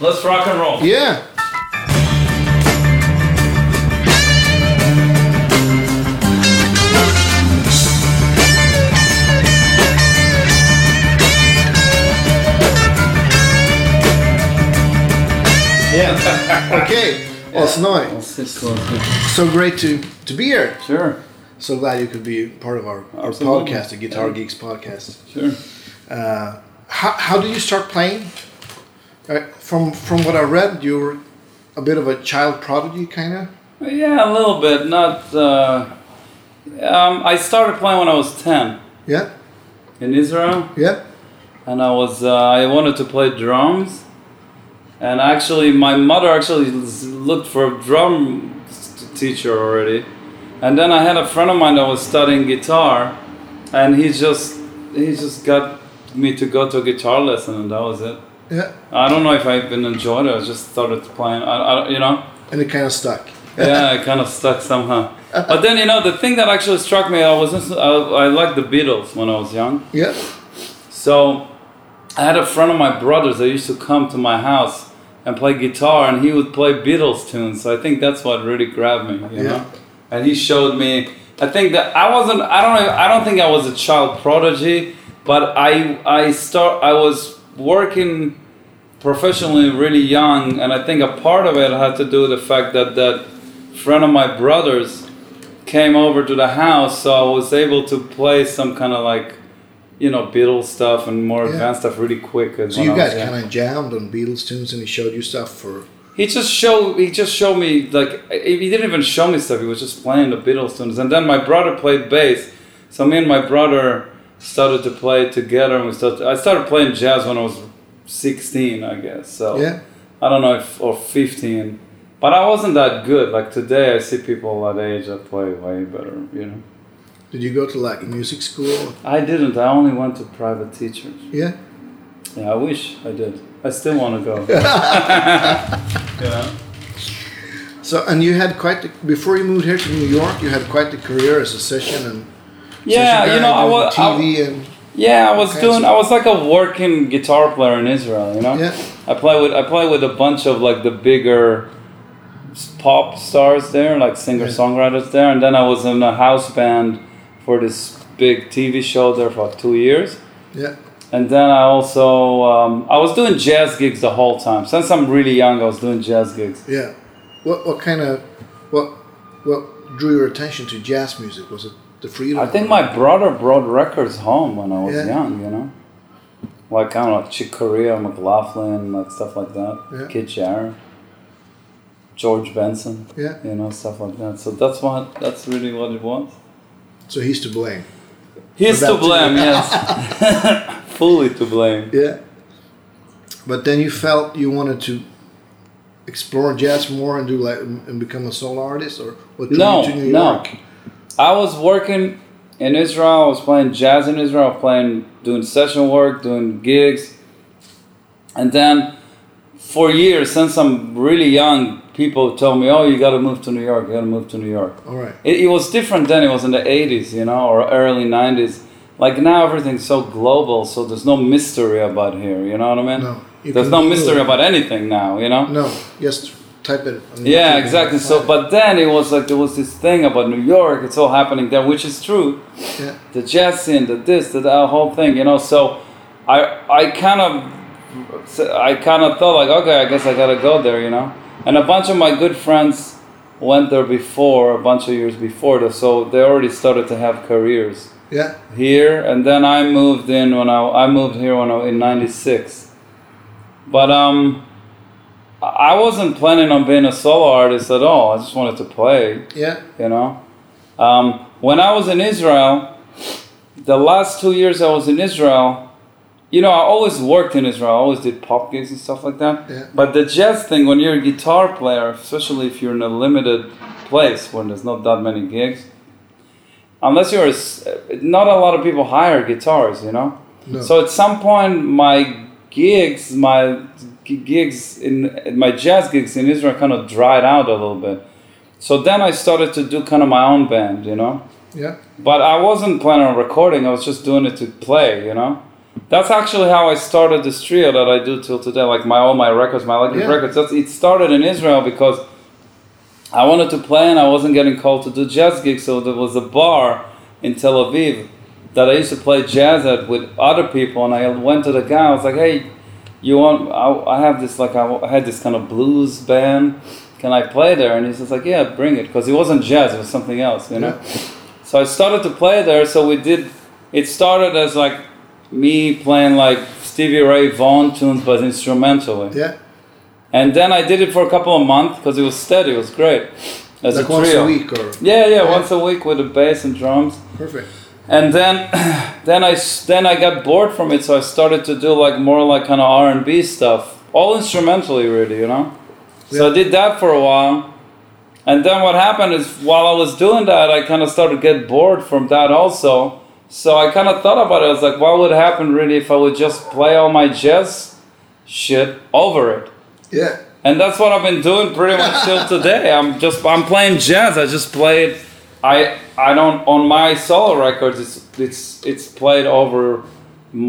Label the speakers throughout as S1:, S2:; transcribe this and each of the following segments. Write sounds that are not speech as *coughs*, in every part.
S1: Let's rock and roll.
S2: Yeah.
S1: *laughs*
S2: Yeah. Okay. Osnoy. So great to, to be here.
S1: Sure,
S2: So glad you could be part of our, our
S1: Absolutely.
S2: podcast, the Guitar Geeks podcast. Uh,
S1: sure.
S2: How, how do you start playing? Uh, from from what I read, you're a bit of a child prodigy, kind of.
S1: Yeah, a little bit. Not. Uh, um, I started playing when I was ten
S2: Yeah,
S1: in Israel,
S2: yeah,
S1: and I was uh, I wanted to play drums, and actually my mother actually s- looked for a drum s- teacher already, and then I had a friend of mine that was studying guitar, and he just he just got me to go to a guitar lesson, and that was it.
S2: yeah.
S1: I don't know if I even enjoyed it. I just started playing. I, I you know.
S2: And it kind of stuck.
S1: yeah, I kind of stuck somehow. But then you know the thing that actually struck me, I was just, I, I liked the Beatles when I was young.
S2: Yeah,
S1: So I had a friend of my brother's that used to come to my house and play guitar, and he would play Beatles tunes. So I think that's what really grabbed me, you
S2: Yeah.
S1: know. And he showed me. I think that I wasn't. I don't. know- I don't think I was a child prodigy, but I I start. I was working professionally really young, and I think a part of it had to do with the fact that that friend of my brother's came over to the house, so I was able to play some kind of like, you know, Beatles stuff and more
S2: Yeah.
S1: advanced stuff really quick. as
S2: so
S1: when
S2: you
S1: I was
S2: guys
S1: young.
S2: kind of jammed on Beatles tunes, and he showed you stuff for.
S1: He just showed. He just showed me like he he didn't even show me stuff. He was just playing the Beatles tunes, and then my brother played bass. So me and my brother started to play together, and we started. I started playing jazz when I was sixteen, I guess. So
S2: Yeah.
S1: I don't know if or fifteen, but I wasn't that good. Like today, I see people that age that play way better. You know,
S2: Did you go to like music school?
S1: I didn't. I only went to private teachers.
S2: Yeah.
S1: Yeah, I wish I did. I still want to go. *laughs* yeah.
S2: So and you had quite the, before you moved here to New York, you had quite the career as a session and
S1: Yeah,
S2: session
S1: you
S2: guy
S1: know, I
S2: doing
S1: was.
S2: TV and
S1: Yeah, I was
S2: Okay,
S1: doing.
S2: so-
S1: I was like a working guitar player in Israel. You know,
S2: Yeah.
S1: I play with I play with a bunch of like the bigger s- pop stars there, like singer songwriters there, and then I was in a house band for this big TV show there for two years,
S2: yeah,
S1: and then I also um, I was doing jazz gigs the whole time. Since I'm really young, I was doing jazz gigs.
S2: yeah. What what kind of what what drew your attention to jazz music? Was it the freedom?
S1: I think my brother brought records home when I was
S2: Yeah.
S1: young, you know. Like kind of like Chick Corea, McLaughlin, like stuff like that.
S2: Yeah.
S1: Kid Jarrett, George Benson,
S2: Yeah.
S1: you know, stuff like that. So that's what that's really what it was.
S2: So he's to blame.
S1: He's
S2: For
S1: to
S2: that too.
S1: blame, yes. *laughs*
S2: *laughs*
S1: Fully to blame.
S2: Yeah. But then you felt you wanted to explore jazz more and do like and become a solo artist, or what drew
S1: No,
S2: you to New
S1: no.
S2: York?
S1: I was working in Israel. I was playing jazz in Israel, playing, doing session work, doing gigs, and then for years, since I'm really young, people tell me, "Oh, you got to move to New York. You got to move to New York."
S2: All right.
S1: It, it was different then. It was in the '80s, you know, or early '90s. Like now, everything's so global, so there's no mystery about here. You know what I mean?
S2: No, you
S1: There's
S2: can
S1: no
S2: Google
S1: mystery
S2: it.
S1: about anything now. You know?
S2: No, just type it. on YouTube
S1: Yeah,
S2: and
S1: exactly.
S2: you'll
S1: So,
S2: find
S1: but then it was like there was this thing about New York. It's all happening there, which is true.
S2: it. yeah,
S1: The jazz scene, the this, the that whole thing, you know. So, I I kind of I kind of thought like, okay, I guess I gotta go there, you know. And a bunch of my good friends went there before, a bunch of years before, so they already started to have careers
S2: yeah,
S1: here and then I moved in when I I moved here when I in 96. But um I wasn't planning on being a solo artist at all. I just wanted to play,
S2: yeah,
S1: you know. Um, when I was in Israel, the last 2 years I was in Israel, you know, I always worked in Israel. I always did pop gigs and stuff like that.
S2: Yeah.
S1: But the jazz thing when you're a guitar player, especially if you're in a limited place when there's not that many gigs, unless you're a s- not a lot of people hire guitars you know
S2: No.
S1: so at some point my gigs my g- gigs in my jazz gigs in israel kind of dried out a little bit so then i started to do kind of my own band you know
S2: yeah,
S1: but i wasn't planning on recording i was just doing it to play you know That's actually how I started this trio that I do till today. Like my all my records, my electric
S2: Yeah.
S1: records. That's, it started in Israel because I wanted to play and I wasn't getting called to do jazz gigs. So there was a bar in Tel Aviv that I used to play jazz at with other people. And I went to the guy. I was like, "Hey, you want? I, I have this like I, I had this kind of blues band. Can I play there?" And he's just like, "Yeah, bring it," because it wasn't jazz. It was something else, you know. So I started to play there. So we did. It started as like me playing like Stevie Ray Vaughan tunes, but instrumentally.
S2: Yeah,
S1: And then I did it for a couple of months because it was steady. It was great as
S2: like
S1: a
S2: once
S1: trio.
S2: a week or
S1: Yeah, yeah, once a week with the bass and drums.
S2: perfect.
S1: And then, *clears throat* then I s- then I got bored from it, so I started to do like more like kind of R and B stuff, all instrumentally, really, you know. So I did that for a while, and then what happened is while I was doing that, I kind of started to get bored from that also. So I kind of thought about it. I was like, what would happen really if I would just play all my jazz shit over it?
S2: Yeah,
S1: And that's what I've been doing pretty much till today. I'm just I'm playing jazz. I just played I I don't on my solo records it's it's it's played over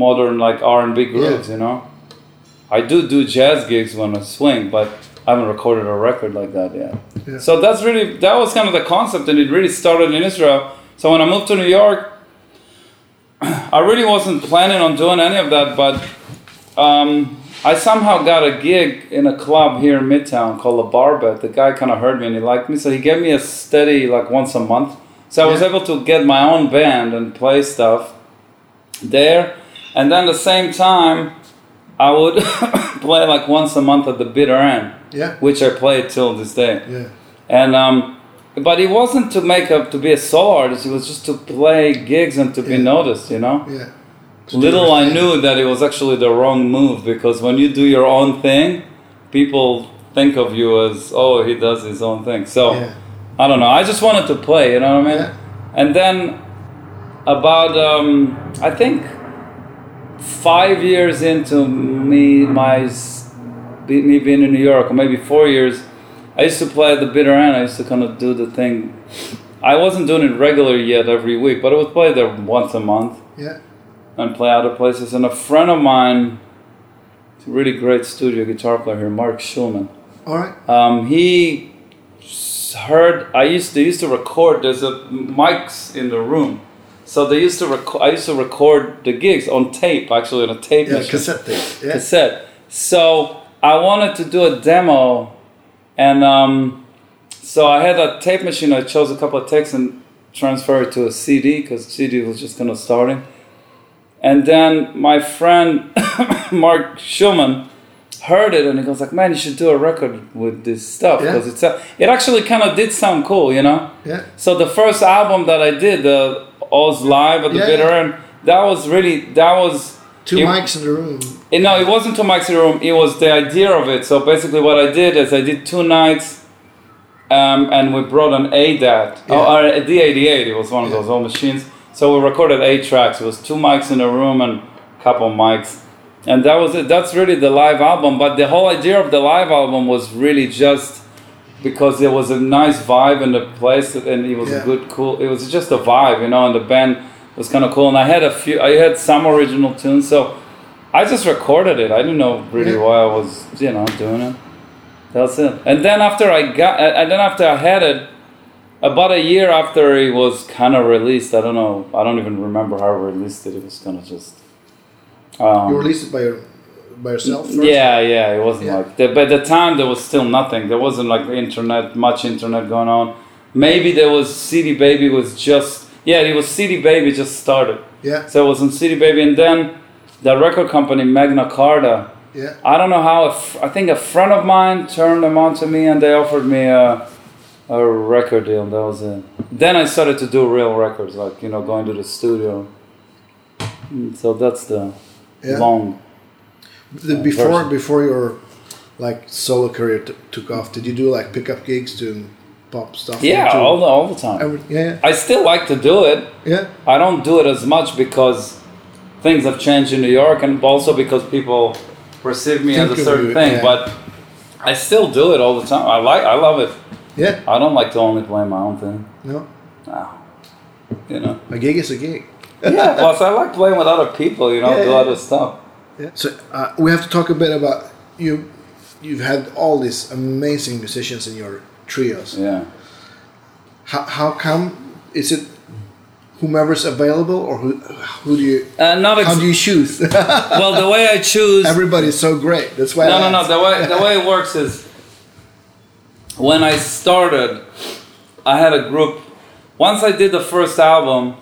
S1: modern like R and B grooves, you know. I do do jazz gigs when I swing, but I haven't recorded a record like that yet.
S2: Yeah.
S1: So that's really that was kind of the concept and it really started in Israel. So when I moved to New York, *clears throat* I really wasn't planning on doing any of that, but um, I somehow got a gig in a club here in Midtown called La Barba. The guy kind of heard me and he liked me, so he gave me a steady like once a month. So I was
S2: Yeah.
S1: able to get my own band and play stuff there, and then at the same time, I would *coughs* play like once a month at the Bitter End,
S2: yeah,
S1: which I play till this day.
S2: yeah.
S1: And um, but it wasn't to make up to be a solo artist. It was just to play gigs and to be
S2: Yeah.
S1: noticed, you know.
S2: Yeah.
S1: Little I knew that it was actually the wrong move because when you do your own thing, people think of you as oh he does his own thing. So
S2: Yeah.
S1: I don't know. I just wanted to play. You know what I mean?
S2: Yeah.
S1: And then about um, I think five years into me my s- be- me being in New York, or maybe four years, I used to play at the bitter end. I used to kind of do the thing. I wasn't doing it regular yet every week, but I would play there once a month
S2: Yeah,
S1: and play other places. And a friend of mine, a really great studio guitar player here, Mark Schulman,
S2: all right.
S1: um, he s- heard I used to used to record. There's a mics in the room, so they used to record. I used to record the gigs on tape, actually on a tape
S2: Yeah,
S1: machine
S2: cassette tape. Yeah,
S1: cassette. So I wanted to do a demo, and um, so I had a tape machine. I chose a couple of takes and transferred it to a CD because CD was just kind of starting. And then my friend *coughs* Mark Schulman heard it and he goes like, "Man, you should do a record with this stuff
S2: Yeah.
S1: because it's a, it actually kind of did sound cool, you know."
S2: yeah,
S1: So the first album that I did, the Oz Live at the
S2: Yeah,
S1: Bitter
S2: yeah.
S1: End, that was really that was
S2: two
S1: it-
S2: mics in the room.
S1: it- no, it wasn't two mics in a room. It was the idea of it. So basically, what I did is I did two nights, um, and we brought an ADAT
S2: Yeah.
S1: or, or a D88. It was one of
S2: Yeah.
S1: those old machines. So we recorded eight tracks. It was two mics in a room and a couple mics, and that was it. That's really the live album. But the whole idea of the live album was really just because there was a nice vibe in the place, and it was a
S2: Yeah.
S1: good, cool. It was just a vibe, you know. And the band was kind of cool. And I had a few. I had some original tunes, so. I just recorded it. I didn't know really
S2: Yeah.
S1: why I was, you know, doing it. That's it. And then after I got, and and then after I had it, about a year after it was kind of released, I don't know, I don't even remember how I released it. It was kind of just.
S2: You
S1: Um,
S2: released it by your, by yourself. First?
S1: Mm, yeah, yeah, it wasn't
S2: Yeah.
S1: like. The, by the time there was still nothing. There wasn't like the internet, much internet going on. Maybe there was CD Baby was just. Yeah, it was CD Baby just started.
S2: yeah,
S1: So it was on CD Baby, and then the record company Magna Carta.
S2: yeah.
S1: I don't know how. a f- I think a friend of mine turned them on to me, and they offered me a, a record deal. and That was it. Then I started to do real records, like you know, going to the studio. Mm, So that's the
S2: Yeah.
S1: long.
S2: The, before before your like solo career t- took off, did you do like pickup gigs doing pop stuff?
S1: Yeah,
S2: too?
S1: all the all the time.
S2: Every- yeah,
S1: I still like to do it.
S2: yeah,
S1: I don't do it as much because things have changed in New York, and also because people perceive me as
S2: Think
S1: a
S2: of
S1: certain
S2: you,
S1: thing.
S2: yeah.
S1: But I still do it all the time. I like. I love it.
S2: yeah.
S1: I don't like to only play my own thing.
S2: No,
S1: Ah, you know.
S2: a gig is a gig.
S1: yeah. *laughs* Plus, I like playing with other people. You know,
S2: Yeah,
S1: do
S2: yeah,
S1: other stuff.
S2: Yeah. So uh, we have to talk a bit about you. You've had all these amazing musicians in your trios.
S1: Yeah.
S2: How, how come? Is it whomever's available, or who who do you
S1: Uh, not ex-
S2: how do you
S1: *laughs*
S2: choose?
S1: well. The way I choose.
S2: *laughs* Everybody's so great. That's why.
S1: no,
S2: I
S1: no, no.
S2: asked.
S1: The way the way it works is when I started, I had a group. Once I did the first album,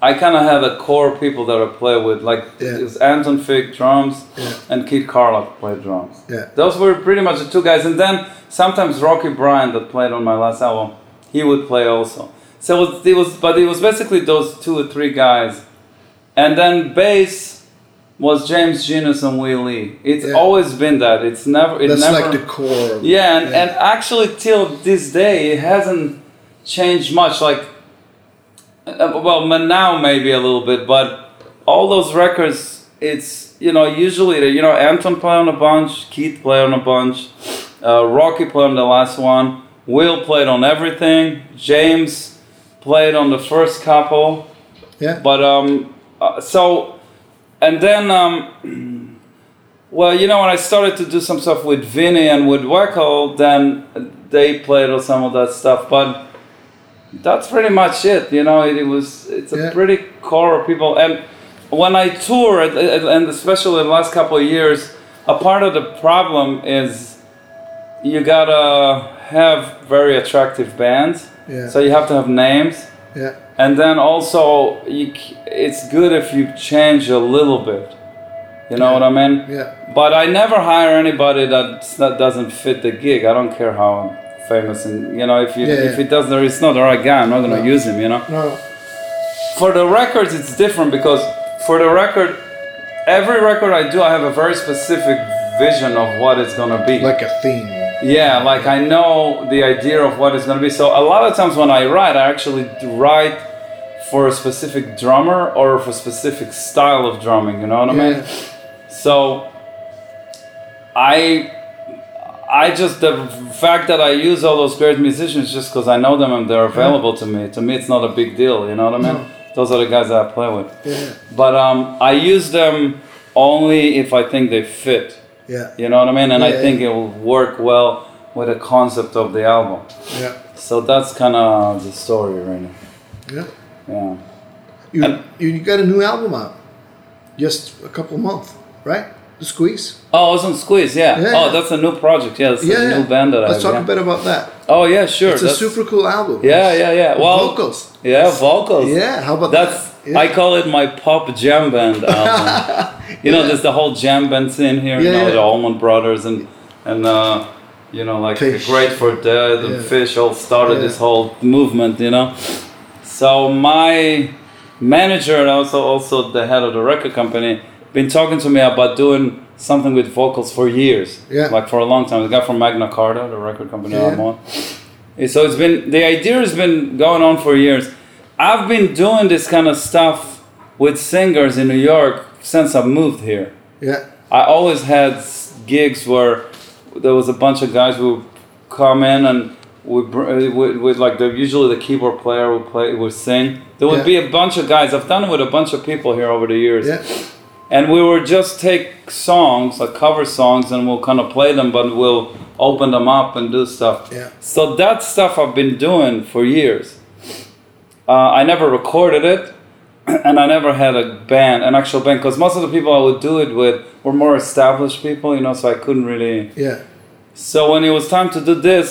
S1: I kind of had a core people that I play with. Like
S2: Yeah.
S1: it's Anton Fig drums
S2: Yeah.
S1: and Keith Carlock played drums.
S2: Yeah.
S1: Those were pretty much the two guys. And then sometimes Rocky Bryan that played on my last album, he would play also. So it was, it was but it was basically those two or three guys. And then bass was James Genus and Wee Lee. It's
S2: Yeah.
S1: always been that. It's never it
S2: That's
S1: never
S2: like the core. of-
S1: yeah, and, and actually till this day it hasn't changed much. Like, uh, well, ma- now maybe a little bit, but all those records, it's you know usually they- you know Anton play on a bunch, Keith play on a bunch, uh, Rocky played on the last one, Will played on everything, James played on the first couple.
S2: yeah.
S1: But um, uh, so, and then um, *clears throat* well, you know, when I started to do some stuff with Vinny and with Wacko, then they played on some of that stuff. But that's pretty much it. You know, it, it was it's a
S2: Yeah.
S1: pretty core of people. And when I toured, and- and especially the last couple of years, a part of the problem is you gotta have very attractive bands.
S2: Yeah.
S1: So you have to have names.
S2: yeah.
S1: And then also, you, c- it's good if you change a little bit. You know what I mean?
S2: Yeah.
S1: But I never hire anybody that's, that doesn't fit the gig. I don't care how famous and you know if you,
S2: Yeah,
S1: if
S2: yeah.
S1: it doesn't, it's not the right guy. I'm not gonna
S2: No.
S1: use him. You know.
S2: No.
S1: For the records, it's different because for the record, every record I do, I have a very specific vision of what it's gonna be.
S2: Like a theme.
S1: Yeah, like I know the idea of what it's gonna be. So a lot of times when I write, I actually write for a specific drummer or for a specific style of drumming. You know what I mean?
S2: Yeah.
S1: So I I just the fact that I use all those great musicians just because I know them and they're available to me. To me, it's not a big deal. You know what I mean? Those are the guys that I play with.
S2: Yeah.
S1: But um, I use them only if I think they fit.
S2: Yeah.
S1: You know what I mean? And I
S2: Yeah,
S1: think it will work well with the concept of the album.
S2: Yeah.
S1: So that's kind of the story, really.
S2: Yeah.
S1: Yeah.
S2: You,
S1: And-
S2: you got a new album out, just a couple of months, right? The Squeeze.
S1: Oh, I was on Squeeze, yeah.
S2: Yeah.
S1: Oh, that's a new project, yeah. That's a new band that I
S2: Let's
S1: have,
S2: talk
S1: yeah.
S2: a bit about that.
S1: Oh, yeah, sure.
S2: It's a
S1: that's-
S2: super cool album.
S1: yeah, yeah, yeah. Well,
S2: vocals.
S1: Yeah, vocals.
S2: Yeah. How about
S1: That's,
S2: that? Yeah.
S1: I call it my pop jam
S2: *laughs*
S1: band album. you know, there's the whole jam band scene here, you
S2: Yeah,
S1: know,
S2: yeah.
S1: the Allman Brothers and, and uh, you know, like
S2: Fish.
S1: the Grateful Dead and
S2: Yeah.
S1: Fish all started
S2: Yeah.
S1: this whole movement, you know. So my manager and also also the head of the record company been talking to me about doing something with vocals for years.
S2: Yeah.
S1: Like for a long time. The guy from Magna Carta, the record company
S2: Yeah.
S1: I'm on. And Eh, So it's been the idea has been going on for years. I've been doing this kind of stuff with singers in New York since I moved here.
S2: yeah.
S1: I always had s- gigs where there was a bunch of guys who would come in and would, br- uh, would, would like the usually the keyboard player would play would sing. There would
S2: Yeah.
S1: be a bunch of guys. I've done it with a bunch of people here over the years.
S2: Yeah.
S1: And we would just take songs, like cover songs, and we'll kind of play them, but we'll open them up and do stuff.
S2: Yeah.
S1: So that stuff I've been doing for years. Uh, I never recorded it, *clears throat* and I never had a band, an actual band, because most of the people I would do it with were more established people, you know, so I couldn't really.
S2: Yeah.
S1: So when it was time to do this,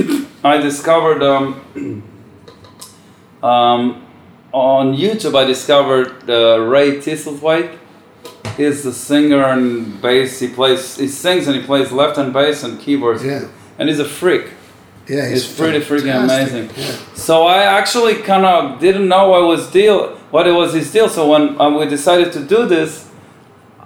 S1: *coughs* I discovered um, *clears throat* um, on YouTube. I discovered uh, Ray Tisselthwaite. He's the singer and bass. He plays. He sings and he plays left hand bass and keyboards.
S2: Yeah.
S1: And he's a freak.
S2: Yeah.
S1: It's, pretty freaking
S2: fantastic.
S1: amazing.
S2: Yeah.
S1: So I actually kind of didn't know what was deal, what it was his deal. So when uh, we decided to do this,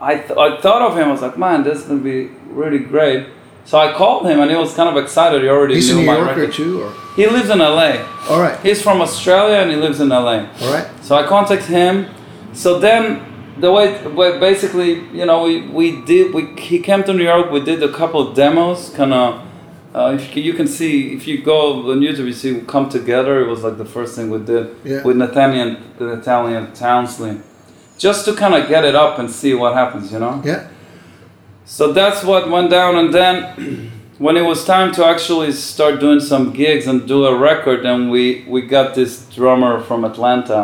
S1: I, th- I thought of him. I was like, man, this is gonna be really great. So I called him, and he was kind of excited. He already
S2: He's a
S1: knew
S2: New
S1: my
S2: Yorker
S1: record.
S2: too, or
S1: He lives in LA.
S2: all right,
S1: He's from Australia, and he lives in LA.
S2: all right.
S1: So I contact him. So then the way, well, basically, you know, we, we did we he came to New York. We did a couple of demos, kind of Uh, if you, you can see, if you go on YouTube, you see "Come Together." It was like the first thing we did
S2: Yeah.
S1: with Nathaniel, the Italian Townsley, just to kind of get it up and see what happens, you know.
S2: Yeah.
S1: So that's what went down, and then *clears throat* when it was time to actually start doing some gigs and do a record, and we we got this drummer from Atlanta,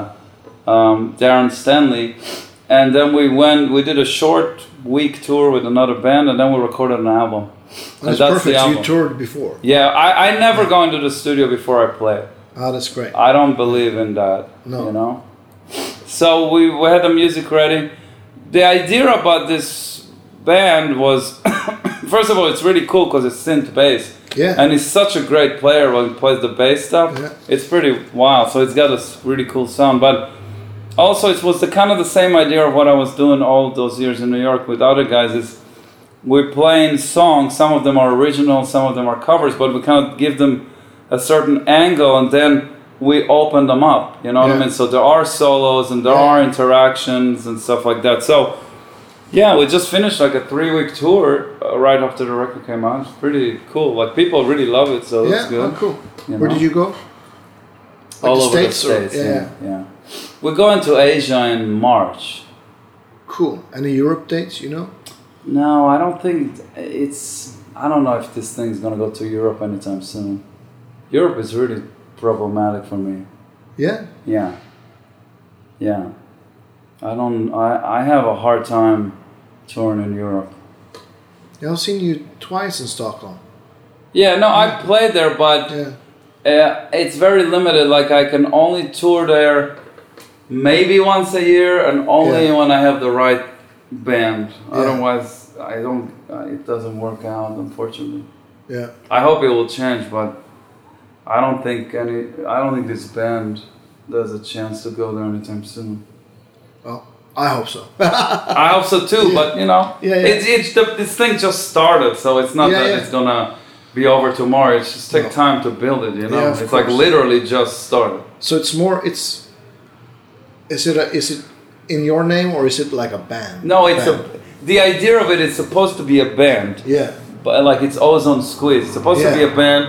S1: um, Darren Stanley, and then we went. We did a short week tour with another band, and then we recorded an album. and
S2: That's, perfect. you toured before.
S1: Yeah, I, I never go into the studio before I play.
S2: Ah, that's great.
S1: I don't believe in that.
S2: No.
S1: You know? So we, we had the music ready. The idea about this band was *coughs* first of all, it's really cool because it's synth bass.
S2: Yeah.
S1: And he's such a great player when he plays the bass stuff.
S2: Yeah.
S1: It's pretty wild. So it's got this really cool sound. But also, it was the kind of the same idea of what I was doing all those years in New York with other guys. Is we're playing songs. Some of them are original, some of them are covers, but we kind of give them a certain angle, and then we open them up. You know what I
S2: Yeah.
S1: mean? So there are solos and there
S2: Yeah.
S1: are interactions and stuff like that. So. Yeah, we just finished like a three week tour uh, right after the record came out. It's pretty cool. Like people really love it, so
S2: yeah.
S1: that's good.
S2: Oh, cool.
S1: You
S2: Where
S1: know?
S2: did you go? Like
S1: All over the
S2: or-
S1: states.
S2: yeah.
S1: yeah, yeah. We're going to Asia in March.
S2: Cool. Any Europe dates? You know?
S1: No, I don't think it's. I don't know if this thing's gonna go to Europe anytime soon. Europe is really problematic for me.
S2: Yeah.
S1: Yeah. Yeah. I don't. I I have a hard time touring in Europe.
S2: Yeah, I've seen you twice in Stockholm.
S1: Yeah. No, I played there, but.
S2: Yeah.
S1: Uh, it's very limited. Like I can only tour there maybe once a year, and only
S2: Yeah.
S1: when I have the right band.
S2: Yeah.
S1: Otherwise, I don't. Uh, it doesn't work out, unfortunately.
S2: Yeah.
S1: I hope it will change, but I don't think any. I don't think this band there's a chance to go there anytime soon.
S2: Well, I hope so. *laughs*
S1: I hope so too, but you know,
S2: Yeah, yeah.
S1: it's it's the, this thing just started, so it's not
S2: Yeah,
S1: that
S2: yeah.
S1: it's gonna be over tomorrow. It's just take
S2: No.
S1: time to build it. You know,
S2: Yeah,
S1: it's
S2: of
S1: like
S2: course.
S1: literally just started.
S2: so it's more. It's. Is it a, is it in your name or is it like a band?
S1: No, it's
S2: band?
S1: a. The idea of it is supposed to be a band,
S2: Yeah.
S1: but like it's ozone squeeze. It's supposed to
S2: Yeah.
S1: be a band.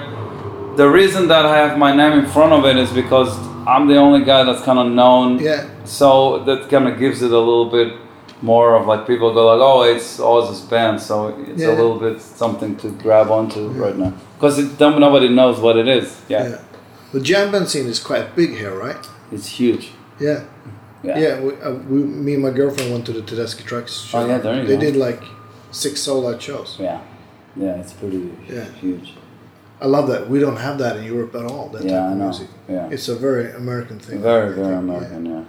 S1: The reason that I have my name in front of it is because I'm the only guy that's kind of known.
S2: Yeah.
S1: So that kind of gives it a little bit more of like people go like, oh, it's Oz's band, so it's a
S2: Yeah.
S1: little bit something to grab onto right now because nobody knows what it is. Yeah,
S2: Yeah. The jam band scene is quite big here, right?
S1: it's huge.
S2: Yeah.
S1: Yeah.
S2: Yeah, we, uh, we, me and my girlfriend went to the Tedeschi Trucks show.
S1: Oh, yeah, there you
S2: they
S1: go.
S2: did like six sold out shows.
S1: yeah, yeah. It's pretty
S2: Yeah.
S1: huge.
S2: I love that. We don't have that in Europe at all. That
S1: Yeah,
S2: type
S1: I
S2: of
S1: know.
S2: music.
S1: Yeah,
S2: It's a very American thing.
S1: very, very
S2: I think, yeah.
S1: American. Yeah,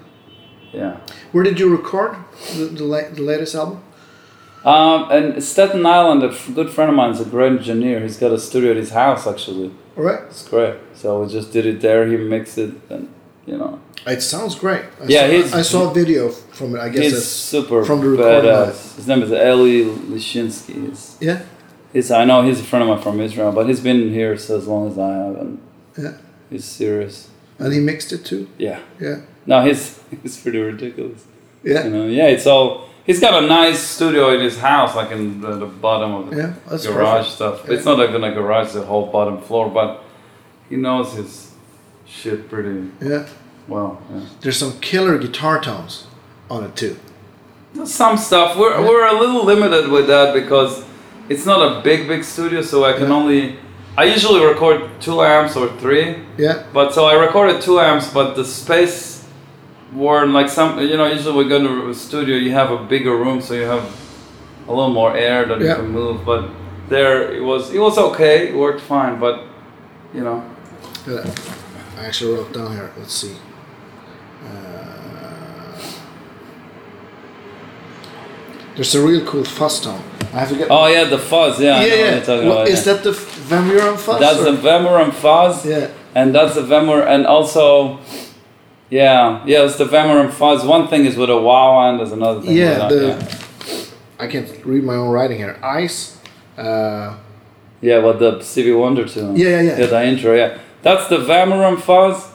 S1: yeah.
S2: Where did you record the, the, la- the latest album?
S1: Um, and Staten Island, a f- good friend of mine is a great engineer. He's got a studio at his house, actually.
S2: All right.
S1: It's great. So we just did it there. He mixed it, and you know,
S2: It sounds great. I
S1: Yeah,
S2: saw,
S1: he's-
S2: I saw a video f- from it. I guess
S1: he's
S2: that's
S1: super
S2: from the recording
S1: badass. His name is Eli Lishinsky. He's,
S2: yeah,
S1: he's, I know he's a friend of mine from Israel, but he's been here so as long as I have, and
S2: yeah,
S1: he's serious.
S2: and he mixed it too.
S1: Yeah.
S2: Yeah,
S1: No, he's *laughs* he's pretty ridiculous. You
S2: yeah,
S1: know, yeah. It's all. He's got a nice studio in his house, like in the, the bottom of the
S2: yeah. That's
S1: garage stuff.
S2: Yeah.
S1: It's not even a garage, the whole bottom floor, but he knows his shit pretty
S2: perfect. Yeah,
S1: well. Yeah.
S2: there's some killer guitar tones on it too.
S1: There's Some stuff we're
S2: Yeah.
S1: we're a little limited with that because it's not a big big studio, so I can
S2: Yeah.
S1: only. I usually record two amps or three,
S2: Yeah,
S1: but so I recorded two amps, but the space were like some. You know, usually we go to a studio, you have a bigger room, so you have a little more air that you
S2: Yeah.
S1: can move. But there, it was it was okay, it worked fine, but you know,
S2: yeah. I actually wrote down here. Let's see. Uh, there's a real cool fuzz tone. I have to get.
S1: Oh yeah, the fuzz. Yeah, I
S2: yeah,
S1: know what
S2: yeah.
S1: you're talking
S2: What-
S1: about,
S2: is
S1: yeah.
S2: that the Van Buren fuzz?
S1: that's
S2: or-
S1: the Vemurum fuzz,
S2: yeah,
S1: and that's the Vemur, and also, yeah, yeah, it's the Vemurum fuzz. One thing is with a wow, and there's another thing.
S2: yeah.
S1: with
S2: The
S1: that,
S2: I can't read my own writing here. Ice. Uh,
S1: yeah, yeah, with the CV Wonder tune.
S2: Yeah, yeah, yeah.
S1: Yeah, the intro. Yeah, that's the Vemurum fuzz.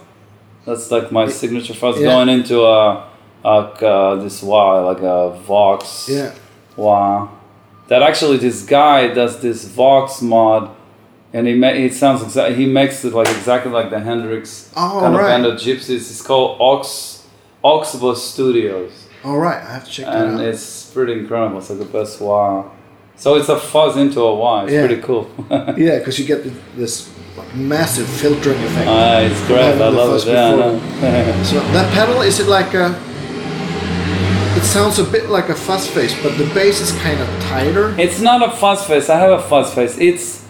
S1: That's like my signature fuzz
S2: Yeah.
S1: going into a, a uh, this wah like a Vox.
S2: yeah.
S1: Wow. That actually, this guy does this Vox mod and he ma- it sounds exactly he makes it like exactly like the Hendrix
S2: Oh,
S1: kind
S2: right.
S1: of band of gypsies. It's called Ox Oxbus Studios
S2: All right, I have to check that
S1: and
S2: out.
S1: it's pretty incredible. It's like the best wah. So it's a fuzz into a wah. It's
S2: Yeah.
S1: pretty cool. *laughs*
S2: Yeah, because you get th- this like, massive filtering effect.
S1: ah, it's great.
S2: I've
S1: I
S2: had the
S1: love
S2: fuzz
S1: it. Yeah, I know. *laughs*
S2: so that pedal is it like a? It sounds a bit like a fuzz face, but the bass is kind of tighter.
S1: it's not a fuzz face. I have a fuzz face. It's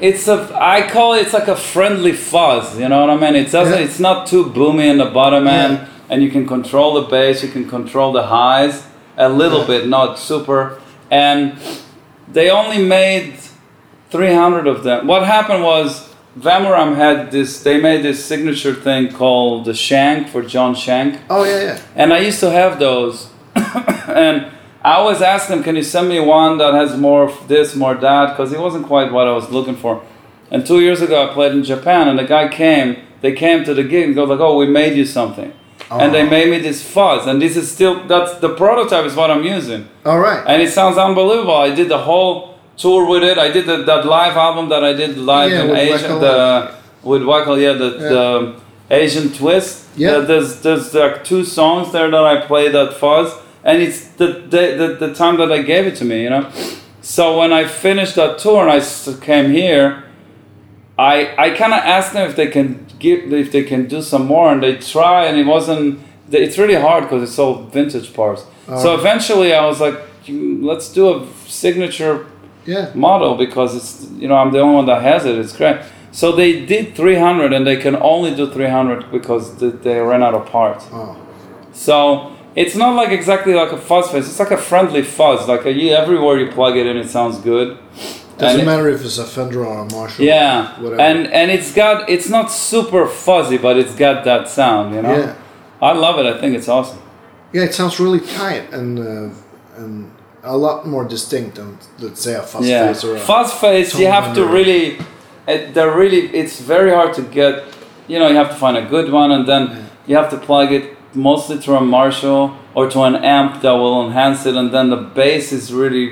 S1: it's a I call it it's like a friendly fuzz. You know what I mean? It doesn't.
S2: Yeah.
S1: It's not too boomy in the bottom end,
S2: Yeah.
S1: and you can control the bass. You can control the highs a little
S2: Yeah.
S1: bit, not super. And they only made 300 of them. What happened was Vamoram had this. They made this signature thing called the Shank for John Shank.
S2: Oh yeah, yeah.
S1: And I used to have those. *coughs* and I always asked him, can you send me one that has more of this, more that? Because it wasn't quite what I was looking for. And two years ago, I played in Japan, and the guy came. They came to the gig and go like, "Oh, we made you something," and they
S2: Oh.
S1: made me this fuzz. And this is still that's the prototype is what I'm using,
S2: All right.
S1: and it sounds unbelievable. I did the whole tour with it. I did the, that live album that I did live
S2: Yeah,
S1: in
S2: with
S1: Asia,
S2: Wackle.
S1: the with Wackle, yeah, the, the Asian twist.
S2: Yeah.
S1: Uh, there's there's like two songs there that I play that fuzz, and it's the the, the the time that I gave it to me, you know. So when I finished that tour and I s- came here, I I kind of asked them if they can give if they can do some more, and they try, and it wasn't. they- It's really hard because it's all vintage parts. so
S2: Oh.
S1: eventually, I was like, "You- let's do a signature
S2: Yeah.
S1: model because it's you know I'm the only one that has it. It's great. So they did 300 and they can only do 300 because th- they ran out of parts.
S2: Oh.
S1: So it's not like exactly like a fuzz face. It's like a friendly fuzz. Like a, you, everywhere you plug it in, it sounds good.
S2: Doesn't
S1: And-
S2: matter if it's a Fender or a Marshall.
S1: yeah,
S2: Whatever.
S1: and and it's got it's not super fuzzy, but it's got that sound. You know,
S2: Yeah.
S1: I love it. I think it's awesome.
S2: Yeah, it sounds really tight and uh, and a lot more distinct than let's say a fuzz
S1: yeah.
S2: face or a
S1: fast face you
S2: Tom
S1: have to
S2: Wanderer.
S1: really it, they're really it's very hard to get you know you have to find a good one and then you have to plug it mostly to a marshall or to an amp that will enhance it and then the bass is really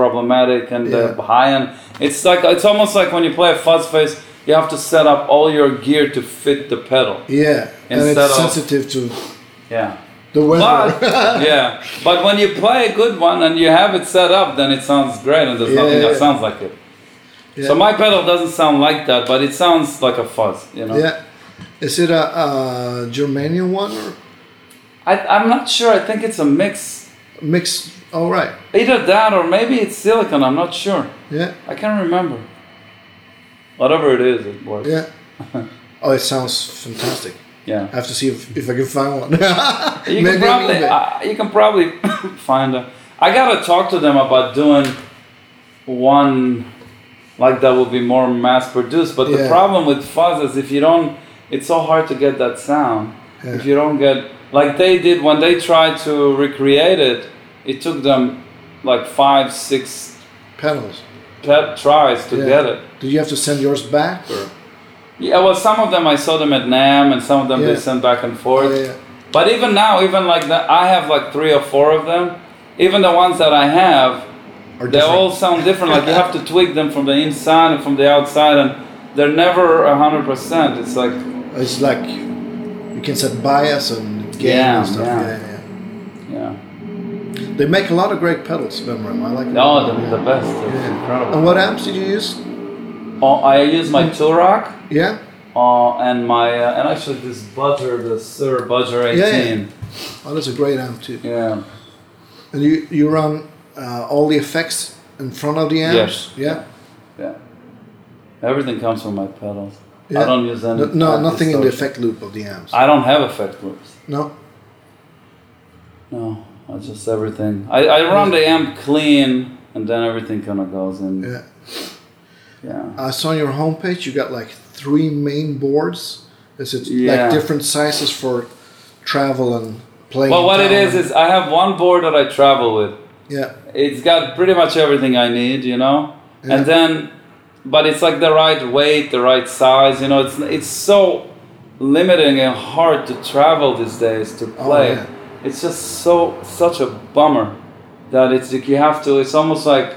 S1: problematic and the
S2: Yeah.
S1: high end it's like it's almost like when you play a fuzz face you have to set up all your gear to fit the pedal
S2: yeah, and it's
S1: Instead of-
S2: sensitive to
S1: yeah
S2: the *laughs*
S1: but
S2: weather.
S1: yeah but when you play a good one and you have it set up then it sounds great and there's
S2: Yeah,
S1: nothing
S2: yeah,
S1: that
S2: yeah.
S1: sounds like it
S2: yeah.
S1: so my pedal doesn't sound like that, but it sounds like a fuzz, you know.
S2: *laughs* yeah, is it a, a Germanian one or
S1: I, I'm not sure. I think it's a mix,
S2: mixed? All right,
S1: either that or maybe it's silicon. I'm not sure.
S2: yeah,
S1: I can't remember. Whatever it is, it works. *laughs*
S2: yeah. Oh, it sounds fantastic.
S1: Yeah.
S2: I have to see if, if I can find one. *laughs*
S1: You
S2: Maybe
S1: can
S2: a
S1: probably
S2: little bit.
S1: uh, you can probably *coughs* find a. I gotta talk to them about doing one like that will be more mass produced. But the
S2: Yeah.
S1: problem with fuzz is if you don't, it's so hard to get that sound.
S2: Yeah.
S1: If you don't get like they did when they tried to recreate it, it took them like five, six
S2: pedals.
S1: pet tries to
S2: Yeah.
S1: get it.
S2: Did you have to send yours back or?
S1: Yeah, well, some of them I saw them at Nam, and some of them they
S2: Yeah.
S1: sent back and forth.
S2: Yeah, yeah.
S1: But even now, even like the, I have like three or four of them. Even the ones that I have,
S2: Or
S1: they all sound different. Like you have to tweak them from the inside and from the outside, and they're never a hundred percent. It's like
S2: It's like you can set bias and gain
S1: Yeah,
S2: and stuff.
S1: yeah.
S2: Yeah. Yeah,
S1: yeah,
S2: They make a lot of great pedals, Vemram. I like it.
S1: oh, they're the best. It's
S2: Yeah. And
S1: incredible.
S2: what amps did you use?
S1: Oh, I use my Turok.
S2: Yeah.
S1: Uh, and my uh, and actually this Budger, the Sir Budger
S2: Yeah, yeah.
S1: 18.
S2: Oh, that's a great amp too.
S1: Yeah.
S2: And you you run uh, all the effects in front of the amps. Yeah.
S1: Yeah. Everything comes from my pedals. I
S2: Yeah.
S1: don't use any.
S2: No, no
S1: uh,
S2: nothing in the
S1: distortion.
S2: effect loop of the amps.
S1: I don't have effect loops.
S2: No.
S1: No, it's just everything. I, I run the amp clean, and then everything kind of goes in.
S2: Yeah.
S1: Yeah.
S2: I saw on your homepage you got like three main boards. Is it
S1: Yeah.
S2: like different sizes for travel and playing?
S1: Well, what it
S2: down
S1: is
S2: and-
S1: is I have one board that I travel with.
S2: yeah.
S1: It's got pretty much everything I need, you know.
S2: Yeah.
S1: And then, but it's like the right weight, the right size. You know, it's it's so limiting and hard to travel these days to
S2: Oh,
S1: play.
S2: yeah.
S1: It's just so such a bummer that it's like you have to. It's almost like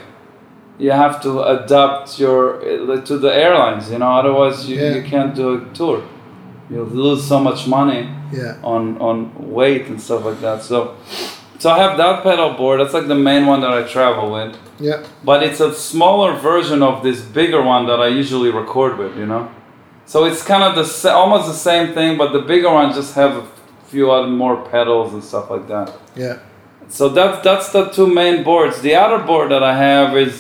S1: you have to adapt your to the airlines. You know, otherwise you,
S2: Yeah.
S1: you can't do a tour. You'll lose so much money
S2: Yeah.
S1: on on weight and stuff like that. So, so I have that pedal board. That's like the main one that I travel with.
S2: Yeah.
S1: But it's a smaller version of this bigger one that I usually record with. You know, so it's kind of the sa- almost the same thing, but the bigger one just have a few other more pedals and stuff like that.
S2: Yeah.
S1: So that's that's the two main boards. The other board that I have is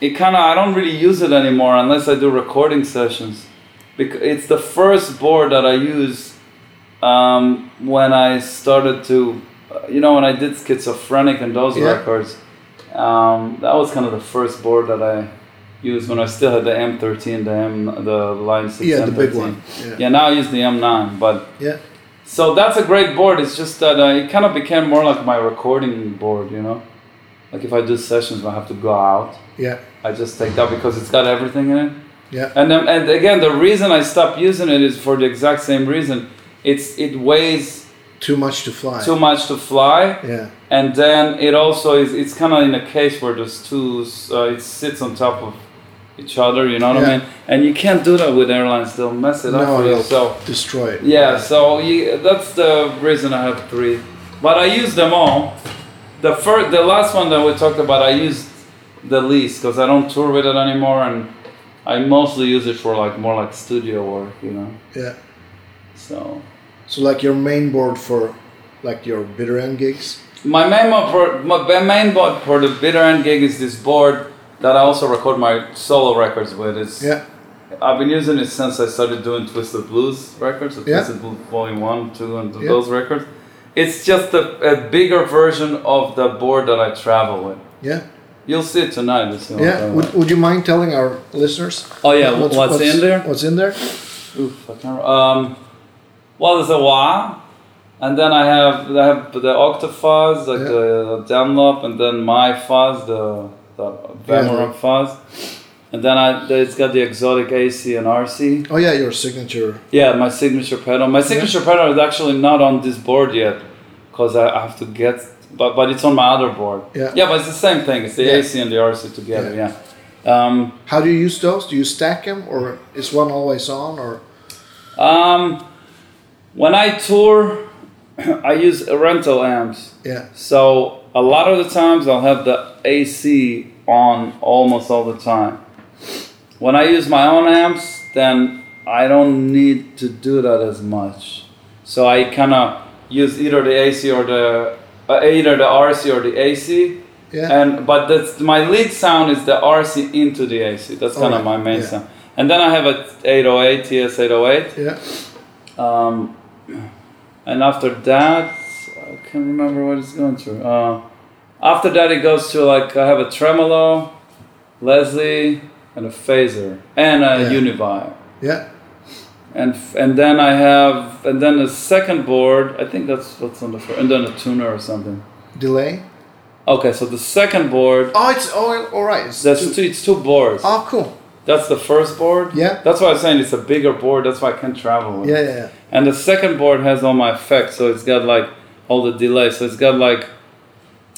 S1: it kind of I don't really use it anymore unless I do recording sessions. Because it's the first board that I use um, when I started to, uh, you know, when I did schizophrenic and those
S2: Yeah.
S1: records. Um, that was kind of the first board that I used when I still had the M13, the M, the Line 6
S2: Yeah, the
S1: M13.
S2: big one. Yeah.
S1: Yeah, now I use the M9, but.
S2: Yeah.
S1: So that's a great board. It's just that uh, it kind of became more like my recording board, you know. Like if I do sessions, when I have to go out.
S2: Yeah.
S1: I just take that because it's got everything in it.
S2: Yeah.
S1: And um, and again, the reason I stopped using it is for the exact same reason. It's it weighs
S2: Too much to fly.
S1: too much to fly,
S2: yeah.
S1: and then it also is it's kind of in a case where there's two. Uh, it sits on top of each other. You know what
S2: Yeah.
S1: I mean? And you can't do that with airlines. They'll mess it up
S2: No,
S1: for you.
S2: they'll-
S1: So.
S2: Destroy it.
S1: Yeah, so you, that's the reason I have three. But I use them all. The first, the last one that we talked about, I used the least because I don't tour with it anymore, and I mostly use it for like more like studio work, you know.
S2: Yeah.
S1: So
S2: So like your main board for like your bitter end gigs.
S1: my main board for my ba- main board for the bitter end gig is this board that I also record my solo records with. It's
S2: Yeah.
S1: I've been using it since I started doing Twisted Blues records, the
S2: Yeah.
S1: Twisted Blues Volume 1, 2, and
S2: Yeah.
S1: those records. It's just a, a bigger version of the board that I travel with.
S2: Yeah.
S1: You'll see it tonight. You'll see what I'm
S2: Yeah.
S1: talking
S2: Would,
S1: about.
S2: would you mind telling our listeners?
S1: Oh, yeah, what's in there?
S2: What's in there?
S1: Oof, I can't, um, well, there's a wah, and then I have I have the octafuzz, like
S2: Yeah.
S1: the Dunlop, and then my fuzz, the, the Vamarock fuzz. And then I, it's got the exotic AC and RC.
S2: Oh yeah, your signature.
S1: Yeah, my signature pedal. My signature pedal is actually not on this board yet, cause I I have to get. But but it's on my other board.
S2: Yeah.
S1: Yeah, but it's the same thing. It's the
S2: Yeah.
S1: AC and the RC together. Yeah. Um,
S2: How do you use those? Do you stack them, or is one always on, or
S1: um, when I tour, *clears throat* I use rental amps.
S2: yeah,
S1: So a lot of the times I'll have the AC on almost all the time. When I use my own amps, then I don't need to do that as much. So I kind of use either the AC or the uh, either the RC or the AC.
S2: yeah,
S1: And but that's my lead sound is the RC into the AC. That's kind of my
S2: Alright,
S1: main
S2: Oh, yeah.
S1: sound. And then I have a 808 TS 808.
S2: yeah,
S1: Um, and after that, I can't remember what it's going to. Uh, after that, it goes to like I have a tremolo, Leslie, and a phaser, and a
S2: Yeah.
S1: univibe.
S2: yeah,
S1: And, f- and then I have and then the second board I think that's what's on the first and then a tuner or something.
S2: delay.
S1: Okay, so the second board
S2: Oh, it's oh, all right. It's
S1: that's
S2: two-
S1: two, it's two boards.
S2: oh, cool.
S1: That's the first board.
S2: Yeah.
S1: That's why I'm saying it's a bigger board. That's why I can travel. With. it.
S2: Yeah, yeah, yeah.
S1: And the second board has all my effects, so it's got like all the delays. So it's got like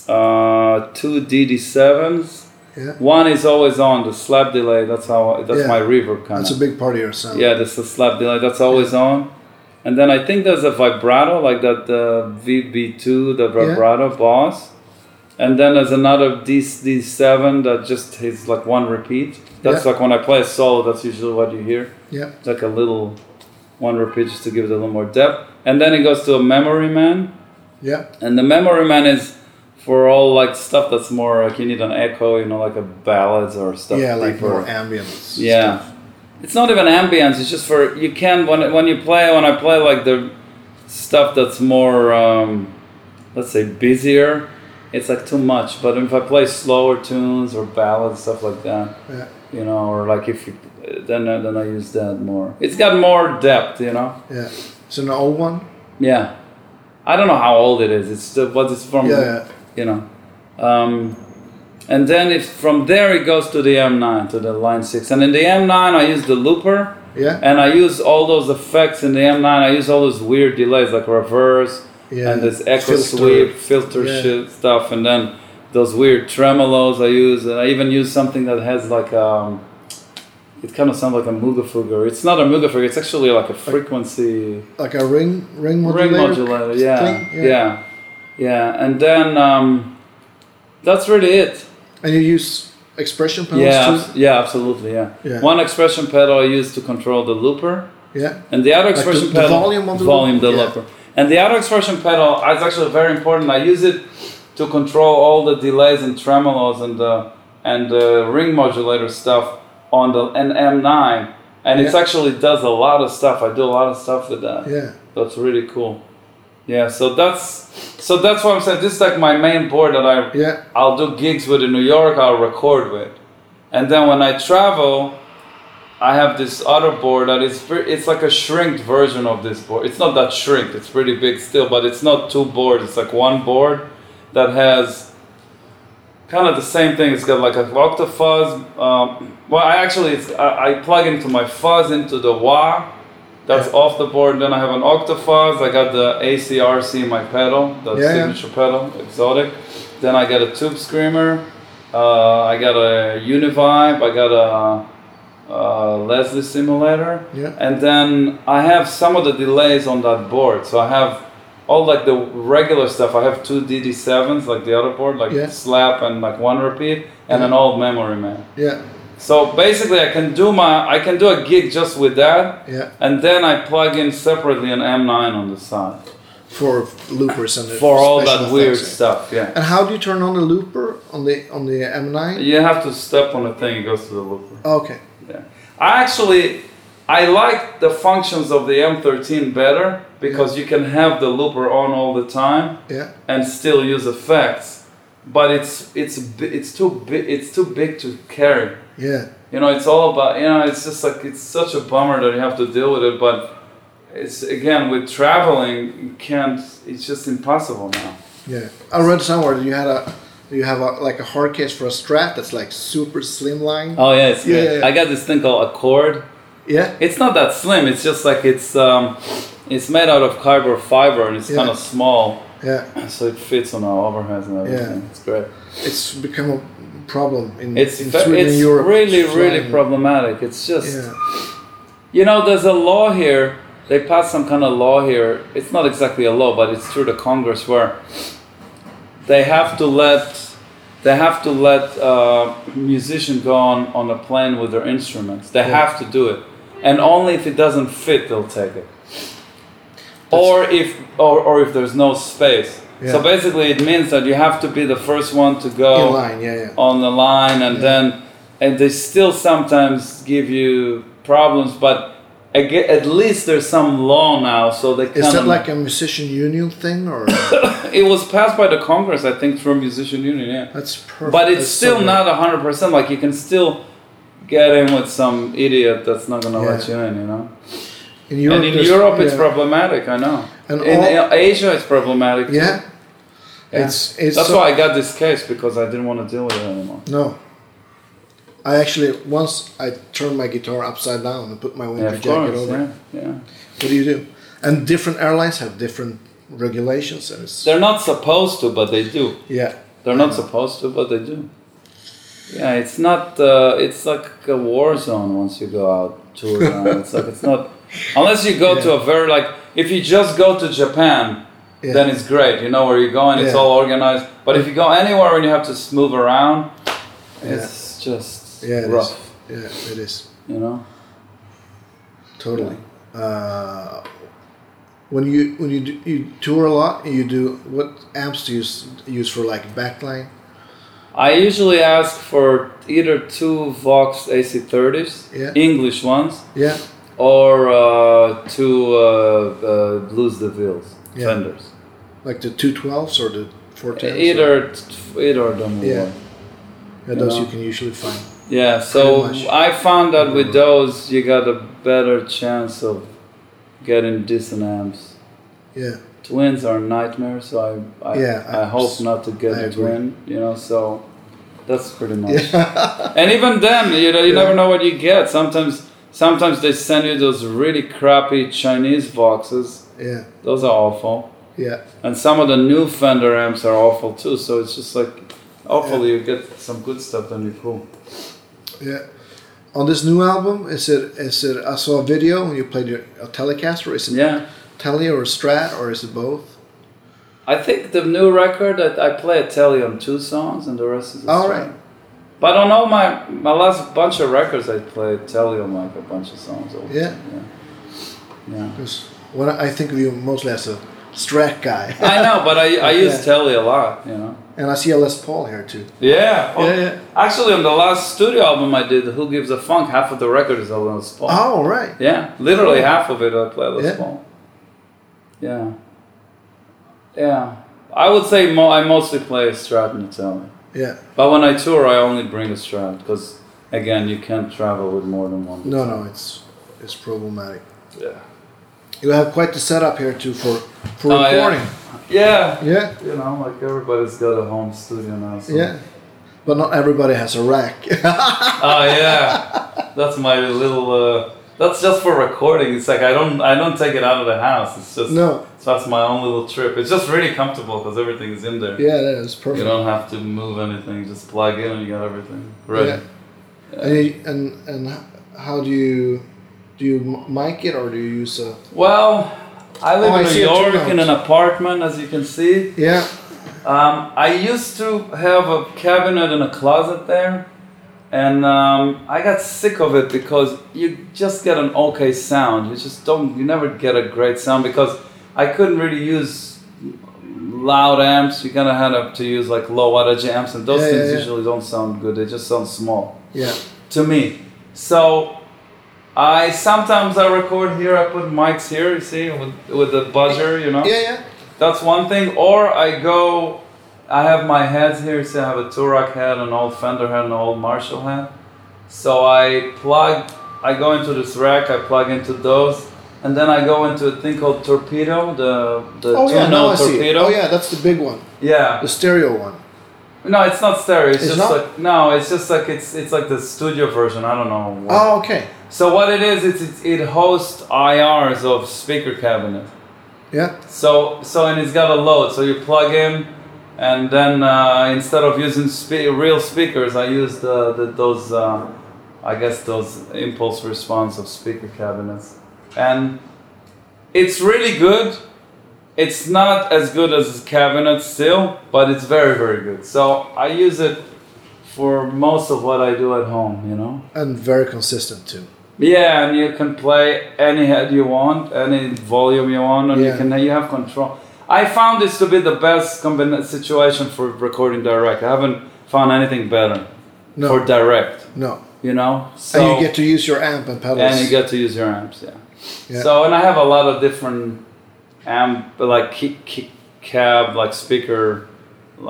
S1: uh, two DD7s.
S2: yeah.
S1: One is always on the slap delay. That's how that's
S2: Yeah.
S1: my reverb kind
S2: That's a
S1: of.
S2: big part of your sound.
S1: Yeah, that's the slap delay. That's always on. And then I think there's a vibrato like that uh, VB2, the vibrato boss. And then there's another D- D7 that just is like one repeat. That's
S2: Yeah.
S1: like when I play a solo, that's usually what you hear
S2: yeah,
S1: like a little one repeat just to give it a little more depth. And then it goes to a memory man.
S2: yeah,
S1: And the memory man is for all like stuff that's more like you need an echo, you know, like a ballads or stuff.
S2: yeah. Like
S1: deeper.
S2: more ambience.
S1: Yeah. It's not even ambience, it's just for you can when when you play when I play like the stuff that's more um, let's say busier, it's like too much. But if I play slower tunes or ballads, stuff like that,
S2: Yeah,
S1: you know, or like if you then I- then I use that more. It's got more depth, you know.
S2: yeah. It's an old one.
S1: Yeah, I don't know how old it is. It's the, what it's from,
S2: Yeah, yeah.
S1: you know. Um, and then if from there it goes to the M9 to the line six, and in the M9 I use the looper,
S2: Yeah,
S1: and I use all those effects in the M9. I use all those weird delays like reverse
S2: yeah.
S1: and this echo
S2: Filter.
S1: sweep filter
S2: Yeah.
S1: shit stuff, and then those weird tremolos I use, and I even use something that has like um, it kind of sounds like a mugafugger. It's not a mugafugger. It's actually like a frequency
S2: like a ring ring modulator.
S1: ring modulator. Yeah,
S2: thing,
S1: yeah,
S2: yeah.
S1: yeah, And then um, that's really it.
S2: And you use expression pedals
S1: Yeah, abs- yeah, absolutely. Yeah.
S2: Yeah.
S1: One expression pedal I use to control the looper,
S2: too. Yeah.
S1: and the other
S2: the-
S1: expression
S2: the
S1: pedal
S2: volume of the
S1: volume
S2: looper?
S1: the
S2: Yeah.
S1: looper. And the other expression pedal is actually very important. I use it to control all the delays and tremolos and the and the ring modulator stuff on the an M9, and it's
S2: Yeah.
S1: actually does a lot of stuff. I do a lot of stuff with that.
S2: Yeah.
S1: That's really cool. Yeah, so that's so that's what I'm saying. This is like my main board that I
S2: Yeah.
S1: I'll do gigs with in New York. I'll record with, and then when I travel, I have this other board that is pre- it's like a shrinked version of this board. It's not that shrinked. It's pretty big still, but it's not two boards. It's like one board that has kind of the same thing. It's got like an octafuzz. Um, well, I actually it's, I, I plug into my fuzz into the wah. That's off the board. Then I have an octafuzz. I got the ACRC in my pedal, the
S2: Yeah, yeah.
S1: signature pedal, exotic. Then I got a tube screamer. Uh, I got a Univibe. I got a uh, Leslie simulator.
S2: Yeah.
S1: And then I have some of the delays on that board. So I have all like the regular stuff. I have two DD7s like the other board, like
S2: Yeah.
S1: slap and like one repeat, and an old memory man.
S2: Yeah.
S1: So basically, I can do my I can do a gig just with that,
S2: Yeah.
S1: and then I plug in separately an M9 on the side
S2: For loopers and the
S1: for all
S2: special
S1: that weird
S2: effects.
S1: stuff. Yeah,
S2: And how do you turn on the looper on the on the M9?
S1: you have to step on the thing; it goes to the looper.
S2: Okay.
S1: Yeah. I actually I like the functions of the M13 better because you can have the looper on all the time
S2: Yeah.
S1: and still use effects, but it's it's bi- it's too big it's too big to carry.
S2: Yeah.
S1: You know, it's all about you know. It's just like it's such a bummer that you have to deal with it, but it's again with traveling you can't. It's just impossible now.
S2: Yeah. I read somewhere that you had a you have a, like a hard case for a strat that's like super slimline.
S1: Oh yeah, it's
S2: Yeah, yeah, yeah.
S1: I got this thing called a cord.
S2: Yeah.
S1: It's not that slim. It's just like it's um, it's made out of carbon fiber and it's
S2: Yeah.
S1: kind of small, *clears throat*
S2: Yeah.
S1: so it fits on our overheads and everything. It's great.
S2: It's become a problem in
S1: It's
S2: in
S1: fa-
S2: Sweden
S1: it's
S2: and Europe.
S1: really really
S2: flying.
S1: problematic. It's just
S2: Yeah.
S1: you know there's a law here. They passed some kind of law here. It's not exactly a law, but it's through the Congress where they have to let they have to let uh, musicians go on on a plane with their instruments. They
S2: Yeah.
S1: have to do it, and only if it doesn't fit, they'll take it. Or if or, or if there's no space.
S2: Yeah.
S1: So basically, it means that you have to be the first one to
S2: In
S1: go
S2: line. Yeah. Yeah.
S1: on the line, and
S2: Yeah.
S1: then and they still sometimes give you problems, but. aga- At least there's some law now, so they can.
S2: Is that like a musician union thing
S1: *coughs*
S2: or
S1: it was passed by the Congress, I think, through musician union. Yeah.
S2: that's perfect?
S1: But it's
S2: That's
S1: still
S2: so good.
S1: not hundred percent. Like you can still get in with some idiot that's not gonna let you
S2: Yeah.
S1: in. You know.
S2: in Europe.
S1: and in
S2: there's-
S1: Europe, it's
S2: yeah.
S1: problematic. I know.
S2: And
S1: in
S2: all-
S1: Asia, it's problematic. too.
S2: Yeah.
S1: Yeah.
S2: It's it's
S1: that's
S2: so-
S1: why I got this case because I didn't want to deal with it anymore.
S2: No. I actually once I turned my guitar upside down and put my
S1: Yeah,
S2: winter
S1: of
S2: jacket
S1: course.
S2: over.
S1: Yeah, yeah.
S2: What do you do? And different airlines have different regulations, and it's
S1: They're not supposed to, but they do.
S2: yeah,
S1: They're not supposed to, but they do. Yeah, it's not. Uh, it's like a war zone once you go out tour. now.
S2: *laughs*
S1: it's like it's not. Unless you go to a very like, if you just go to Japan,
S2: Yeah.
S1: then it's great. You know where you're going. It's
S2: Yeah.
S1: all organized. But if you go anywhere and you have to s- move around, it's just
S2: yeah, it is.
S1: rough.
S2: yeah, it is
S1: You know.
S2: totally. Uh, when you when you do, you tour a lot, you do what amps do you s- use for like backline?
S1: I usually ask for either two Vox AC30s,
S2: Yeah.
S1: English ones,
S2: Yeah,
S1: or uh, two uh, uh, Blues DeVilles,
S2: Yeah.
S1: Fenders.
S2: like the two twelves or the four tens.
S1: Either either of them. will
S2: Yeah.
S1: work.
S2: yeah, those
S1: you
S2: you
S1: know.
S2: can usually find.
S1: Yeah. So
S2: Pretty much.
S1: I found that with those, you got a better chance of getting decent amps.
S2: Yeah,
S1: Twins are nightmare, so I I,
S2: Yeah,
S1: I,
S2: I-
S1: hope not to get
S2: I
S1: a
S2: agree.
S1: twin. You know, so that's pretty much.
S2: yeah, *laughs*
S1: And even then, you know, you
S2: Yeah.
S1: never know what you get. Sometimes sometimes they send you those really crappy Chinese boxes.
S2: yeah,
S1: Those are awful.
S2: yeah.
S1: And some of the new Fender amps are awful too. So it's just like Hopefully, you get some good stuff, then you're cool.
S2: Yeah. On this new album, is it is it I saw a video when you played your a Telecaster. Is it
S1: Yeah.
S2: Tele or Strat or is it both?
S1: I think the new record that I play a telly on two songs and the rest is a
S2: All
S1: string.
S2: right.
S1: But on all my my last bunch of records, I play telly on like a bunch of songs. all the
S2: Yeah.
S1: time, Yeah. yeah.
S2: 'Cause what I think of you mostly as a Strat guy, *laughs*
S1: I know, but I, I use
S2: Yeah.
S1: telly a lot, you know.
S2: and I see a Les Paul here too.
S1: Yeah. Oh,
S2: Yeah, yeah.
S1: Actually, on the last studio album I did, Who Gives a Funk, half of the record is a little small.
S2: Oh, right.
S1: Yeah, literally half of it I play Les
S2: Yeah.
S1: Paul. Yeah. Yeah. I would say mo- I mostly play Strat and Italian.
S2: Yeah.
S1: But when I tour, I only bring a Strat because, again, you can't travel with more than one.
S2: No, no, it's it's problematic.
S1: Yeah.
S2: You have quite the setup here too for for
S1: Oh, yeah.
S2: recording.
S1: Yeah.
S2: Yeah.
S1: You know, like everybody's got a home studio now. So. *laughs*
S2: Yeah. But not everybody has a rack. *laughs*
S1: Oh yeah. That's my little. Uh, that's just for recording. It's like I don't. I don't take it out of the house. It's just.
S2: no.
S1: So that's my own little trip. It's just really comfortable because everything is in there.
S2: Yeah, that is
S1: You
S2: perfect.
S1: don't have to move anything. You just plug in and you got everything. Right.
S2: Yeah. And, you, and and how do you do you m- mic it or do you use a
S1: Well, I live
S2: Oh, I
S1: in New
S2: see a
S1: York
S2: turnout.
S1: in an apartment, as you can see.
S2: yeah
S1: Um, I used to have a cabinet and a closet there, and um, I got sick of it because you just get an okay sound. You just don't, you never get a great sound because I couldn't really use loud amps. You kind of had to- to use like low wattage amps, and those
S2: Yeah, yeah,
S1: things
S2: yeah.
S1: usually don't sound good. They just sound small
S2: yeah
S1: to me. So I sometimes I record here. I put mics here. You see, with with the buzzer, you know.
S2: yeah yeah
S1: That's one thing. Or I go, I have my heads here. So I have a Turok head, an old Fender head, an old Marshall head. So I plug, I go into this rack, I plug into those, and then I go into a thing called torpedo, the the
S2: oh yeah now
S1: two-note
S2: I see it.
S1: torpedo.
S2: oh yeah that's the big one
S1: yeah.
S2: the stereo one
S1: No, it's not stereo. It's,
S2: It's
S1: just
S2: not?
S1: like no, it's just like it's it's like the studio version. I don't know. What.
S2: oh okay
S1: So what it is, it's, it's it hosts IRs of speaker cabinet.
S2: yeah
S1: So so and it's got a load. So you plug in, and then uh, instead of using spe- real speakers, I use the, the those uh, I guess those impulse response of speaker cabinets, and it's really good. It's not as good as cabinets still, but it's very very good. So I use it for most of what I do at home. You know.
S2: and very consistent too
S1: Yeah, and you can play any head you want, any volume you want, and you
S2: Yeah.
S1: can you have control. I found this to be the best combina- situation for recording direct. I haven't found anything better
S2: no
S1: for direct.
S2: no
S1: You know,
S2: and you get to use your amp and pedals
S1: and you get to use your amps. Yeah.
S2: Yeah.
S1: So and I have a lot of different amp like kick, kick cab like speaker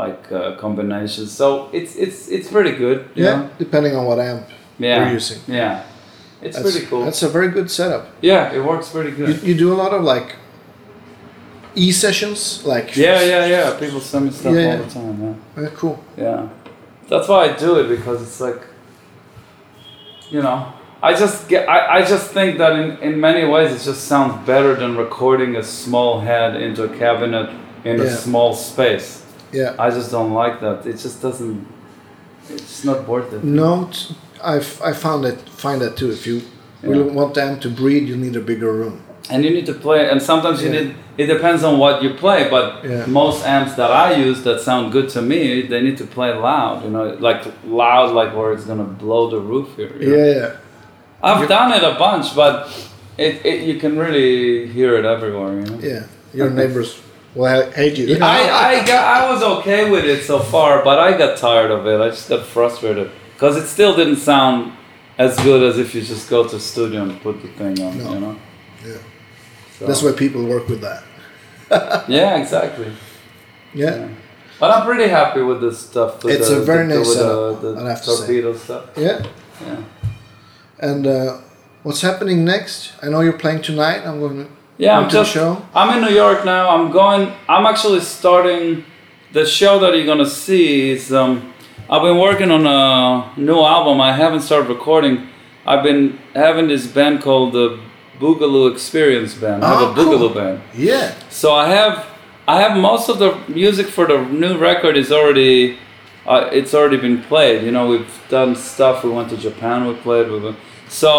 S1: like uh, combinations. So it's it's it's pretty good. you
S2: yeah
S1: know?
S2: depending on what amp
S1: Yeah.
S2: you're using
S1: Yeah. It's
S2: that's
S1: pretty cool.
S2: that's a very good setup
S1: yeah, it works pretty good.
S2: you, you do a lot of like e sessions like
S1: Yeah, yeah, yeah. People send me stuff
S2: Yeah,
S1: all
S2: yeah.
S1: the time. Yeah.
S2: yeah cool
S1: yeah, that's why I do it because it's like, you know, I just get. I, I just think that in in many ways it just sounds better than recording a small head into a cabinet in a
S2: Yeah.
S1: small space.
S2: yeah
S1: I just don't like that. It just doesn't. It's not worth it.
S2: No, t- I've, I found that find that too. If you really want them to breed, you need a bigger room.
S1: and you need to play and sometimes you
S2: Yeah.
S1: need it depends on what you play but
S2: Yeah.
S1: most amps that i use that sound good to me they need to play loud you know like loud like where it's gonna blow the roof here you know?
S2: Yeah, yeah,
S1: i've done it a bunch but it, it you can really hear it everywhere you know
S2: yeah.
S1: *laughs*
S2: Your neighbors will ha- hate you.
S1: I, I, got, I was okay with it so far, but I got tired of it. I just got frustrated because it still didn't sound as good as if you just go to studio and put the thing on.
S2: No.
S1: You know.
S2: *laughs* Yeah.
S1: So-
S2: That's why people work with that.
S1: yeah, exactly.
S2: Yeah,
S1: But I'm pretty happy with this stuff. with
S2: It's
S1: the,
S2: a very
S1: the,
S2: nice
S1: with
S2: setup,
S1: The, the
S2: I'd have to say.
S1: torpedo stuff.
S2: yeah.
S1: Yeah.
S2: And uh, what's happening next? I know you're playing tonight. I'm going to
S1: Yeah, I'm
S2: to the
S1: just.
S2: show.
S1: I'm in New York now. I'm going. I'm actually starting. The show that you're gonna see is. Um, I've been working on a new album. I haven't started recording. I've been having this band called the Boogaloo Experience Band. I have
S2: Oh,
S1: a Boogaloo
S2: cool.
S1: band.
S2: Yeah,
S1: So I have I have most of the music for the new record is already uh, it's already been played. You know, we've done stuff. We went to Japan. We played. We went. So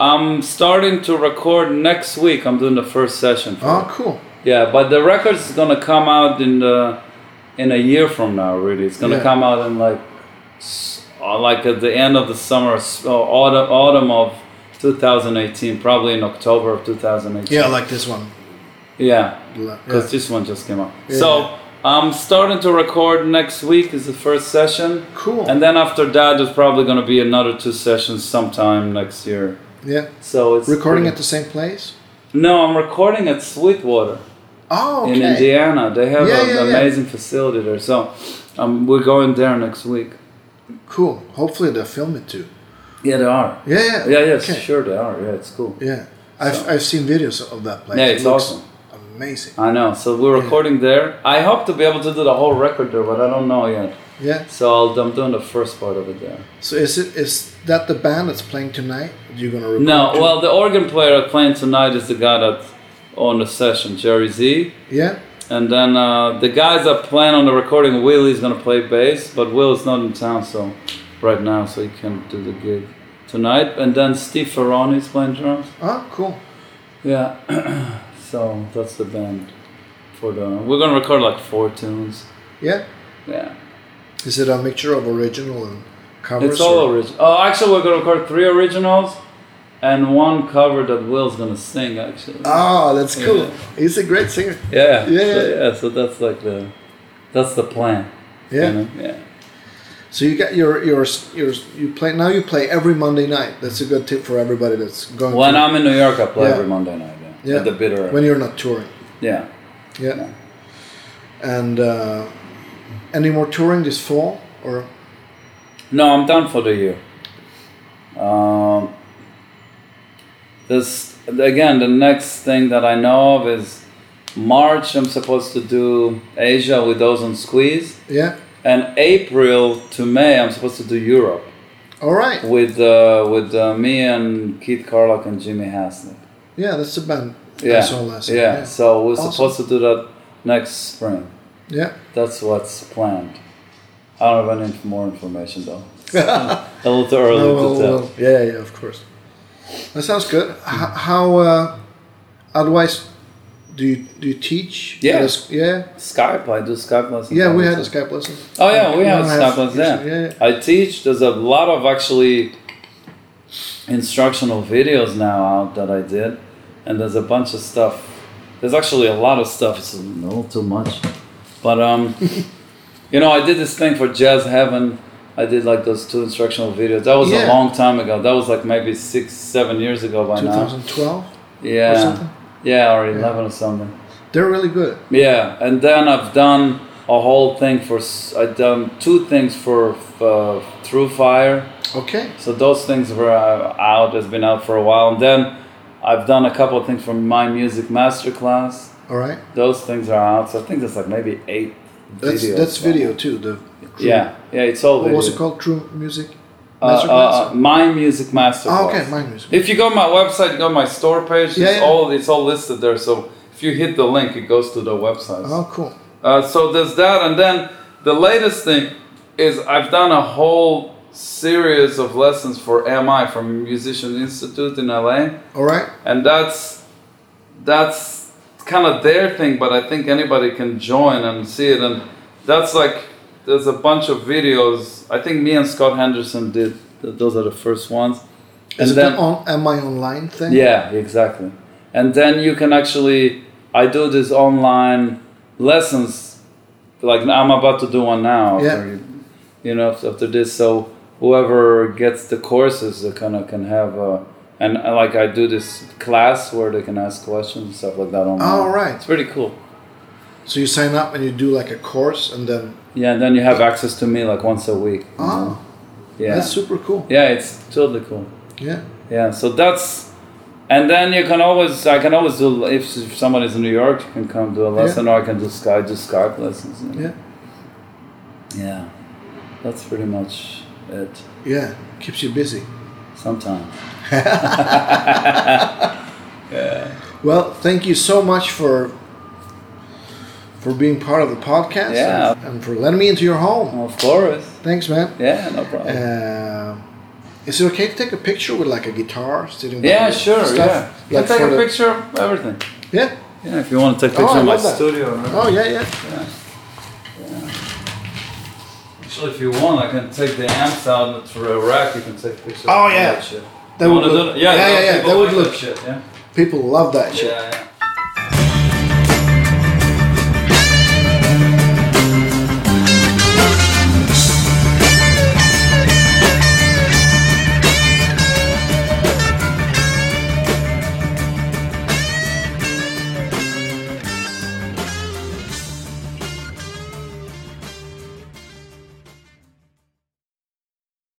S1: I'm starting to record next week. I'm doing the first session. for
S2: Oh, cool.
S1: it. Yeah, but the record's gonna come out in the in a year from now. Really, it's gonna
S2: Yeah.
S1: come out in like s- uh, like at the end of the summer, s- uh, autumn autumn of 2018, probably in October of 2018.
S2: Yeah, I like this one.
S1: Yeah
S2: Like-
S1: because
S2: yeah.
S1: this one just came out.
S2: Yeah.
S1: So I'm starting to record next week is the first session,
S2: Cool.
S1: and then after that there's probably going to be another two sessions sometime next year.
S2: yeah.
S1: So it's
S2: Recording at the same place?
S1: No, I'm recording at Sweetwater
S2: Oh, okay.
S1: in Indiana. They have
S2: Yeah,
S1: an
S2: yeah, yeah.
S1: amazing facility there. So um, we're going there next week.
S2: Cool. Hopefully they'll film it too.
S1: Yeah, they are.
S2: Yeah, yeah.
S1: Yeah, yes,
S2: okay.
S1: sure they are. Yeah, it's cool.
S2: Yeah. I've,
S1: So-
S2: I've seen videos of that place.
S1: Yeah,
S2: It
S1: it's
S2: looks
S1: awesome.
S2: Amazing.
S1: I know. So we're recording there. I hope to be able to do the whole record there, but I don't know yet.
S2: Yeah.
S1: So I'll, I'm doing the first part of it there.
S2: So is it is that the band that's playing tonight? You're gonna record?
S1: No,
S2: to-
S1: well, the organ player playing tonight is the guy that on the session, Jerry Z.
S2: Yeah.
S1: And then uh, the guys that playing on the recording, Willie's gonna play bass, but Will is not in town, so right now, so he can't do the gig tonight. And then Steve Ferroni's playing drums.
S2: Oh, cool.
S1: Yeah, *clears throat* so that's the band for the. We're gonna record like four tunes.
S2: Yeah.
S1: Yeah,
S2: Is it a mixture of original and covers?
S1: it's all
S2: or-
S1: original. Oh, actually, we're gonna record three originals and one cover that Will's gonna sing. Actually.
S2: Oh, that's cool.
S1: Yeah.
S2: He's a great singer.
S1: Yeah.
S2: Yeah.
S1: So, yeah. So that's like the, that's the plan. you
S2: Yeah.
S1: know? Yeah.
S2: So you got your your your you play now. You play every Monday night. That's a good tip for everybody that's going.
S1: When
S2: to,
S1: I'm in New York, I play
S2: Yeah.
S1: every Monday night. Yeah.
S2: Yeah.
S1: At the bitter.
S2: when you're not touring.
S1: yeah.
S2: Yeah.
S1: Yeah.
S2: And uh, any more touring this fall or?
S1: No, I'm done for the year. Um. This again. The next thing that I know of is March. I'm supposed to do Asia with Ozone Squeeze,
S2: Yeah.
S1: and April to May, I'm supposed to do Europe
S2: All right.
S1: with uh, with uh, me and Keith Carlock and Jimmy Haslett.
S2: Yeah, that's the band I
S1: Yeah.
S2: saw last
S1: yeah.
S2: year.
S1: So we're
S2: Awesome.
S1: supposed to do that next spring.
S2: Yeah.
S1: That's what's planned. I don't have any inf- more information
S2: *laughs*
S1: though. It's a little too early
S2: No,
S1: to
S2: well,
S1: tell.
S2: well, yeah, yeah, of course. That sounds good. H- how uh, otherwise do you do you teach?
S1: Yeah.
S2: At a s- yeah,
S1: Skype, I do Skype lessons.
S2: yeah. We
S1: obviously.
S2: had a Skype lesson.
S1: Oh yeah, we
S2: You
S1: have
S2: know,
S1: Skype lessons.
S2: yeah,
S1: Yeah.
S2: yeah.
S1: I teach. There's a lot of actually instructional videos now out that I did, and there's a bunch of stuff. There's actually a lot of stuff. It's a little too much, but
S2: *laughs*
S1: um, you know, I did this thing for Jazz Heaven. I did like those two instructional videos. That was
S2: Yeah.
S1: a long time ago. That was like maybe six, seven years ago by now.
S2: 2012
S1: Yeah,
S2: or something.
S1: yeah, or eleven or something.
S2: They're really good.
S1: Yeah, and then I've done a whole thing for s- I've done two things for uh, Through Fire.
S2: Okay.
S1: So those things were uh, out. Has been out for a while, and then I've done a couple of things from my music masterclass.
S2: All right.
S1: Those things are out. So I think there's like maybe eight.
S2: That's
S1: videos
S2: that's
S1: now.
S2: video too. The
S1: Yeah, yeah, it's all
S2: What
S1: video.
S2: was it called? True music.
S1: Uh, uh, uh, my music masterclass.
S2: oh, okay, my music.
S1: If you go on my website, go on my store page.
S2: Yeah,
S1: it's
S2: yeah.
S1: all it's all listed there. So if you hit the link, it goes to the website.
S2: Oh, cool.
S1: Uh, so there's that, and then the latest thing is I've done a whole series of lessons for MI from Musician Institute in LA,
S2: All right.
S1: and that's that's kind of their thing, but I think anybody can join and see it, and that's like there's a bunch of videos. I think me and Scott Henderson did th- those are the first ones, and
S2: Is it
S1: then
S2: the on, am I online thing?
S1: yeah, exactly. And then you can actually, I do these online lessons, like I'm about to do one now.
S2: Yeah.
S1: After, you know, after this, so whoever gets the courses, they kind of can have a, and uh, like I do this class where they can ask questions and stuff like that online.
S2: All Oh, right.
S1: It's pretty cool.
S2: So you sign up and you do like a course and then
S1: Yeah, and then you have access to me like once a week. you know?
S2: oh,
S1: yeah.
S2: that's super cool.
S1: yeah, it's totally cool.
S2: Yeah.
S1: Yeah, so that's, and then you can always I can always do if, if somebody's in New York, you can come do a lesson, or I can do Skype do Skype lessons. you know.
S2: Yeah.
S1: yeah, that's pretty much it.
S2: Yeah. Keeps you busy.
S1: Sometimes.
S2: Well, thank you so much for for being part of the podcast
S1: Yeah.
S2: and, and for letting me into your home.
S1: Oh, Of course.
S2: Thanks, man.
S1: Yeah, no problem.
S2: Uh, is it okay to take a picture with like a guitar sitting?
S1: yeah,
S2: down?
S1: sure. Yeah.
S2: Stuff?
S1: You can
S2: Like for
S1: take a
S2: the-
S1: picture of everything.
S2: Yeah.
S1: Yeah, if you want to take a
S2: Oh,
S1: picture
S2: I
S1: of my
S2: love that.
S1: studio. and
S2: Oh yeah, yeah.
S1: Actually, if you want, I can take the amps out to a rack. You can take pictures.
S2: Oh, yeah.
S1: That shit.
S2: That
S1: You
S2: would
S1: wanna
S2: look-
S1: do it? yeah,
S2: yeah, yeah, yeah,
S1: people
S2: that would
S1: like
S2: look-
S1: shit. Yeah.
S2: People love that
S1: Yeah,
S2: shit.
S1: yeah.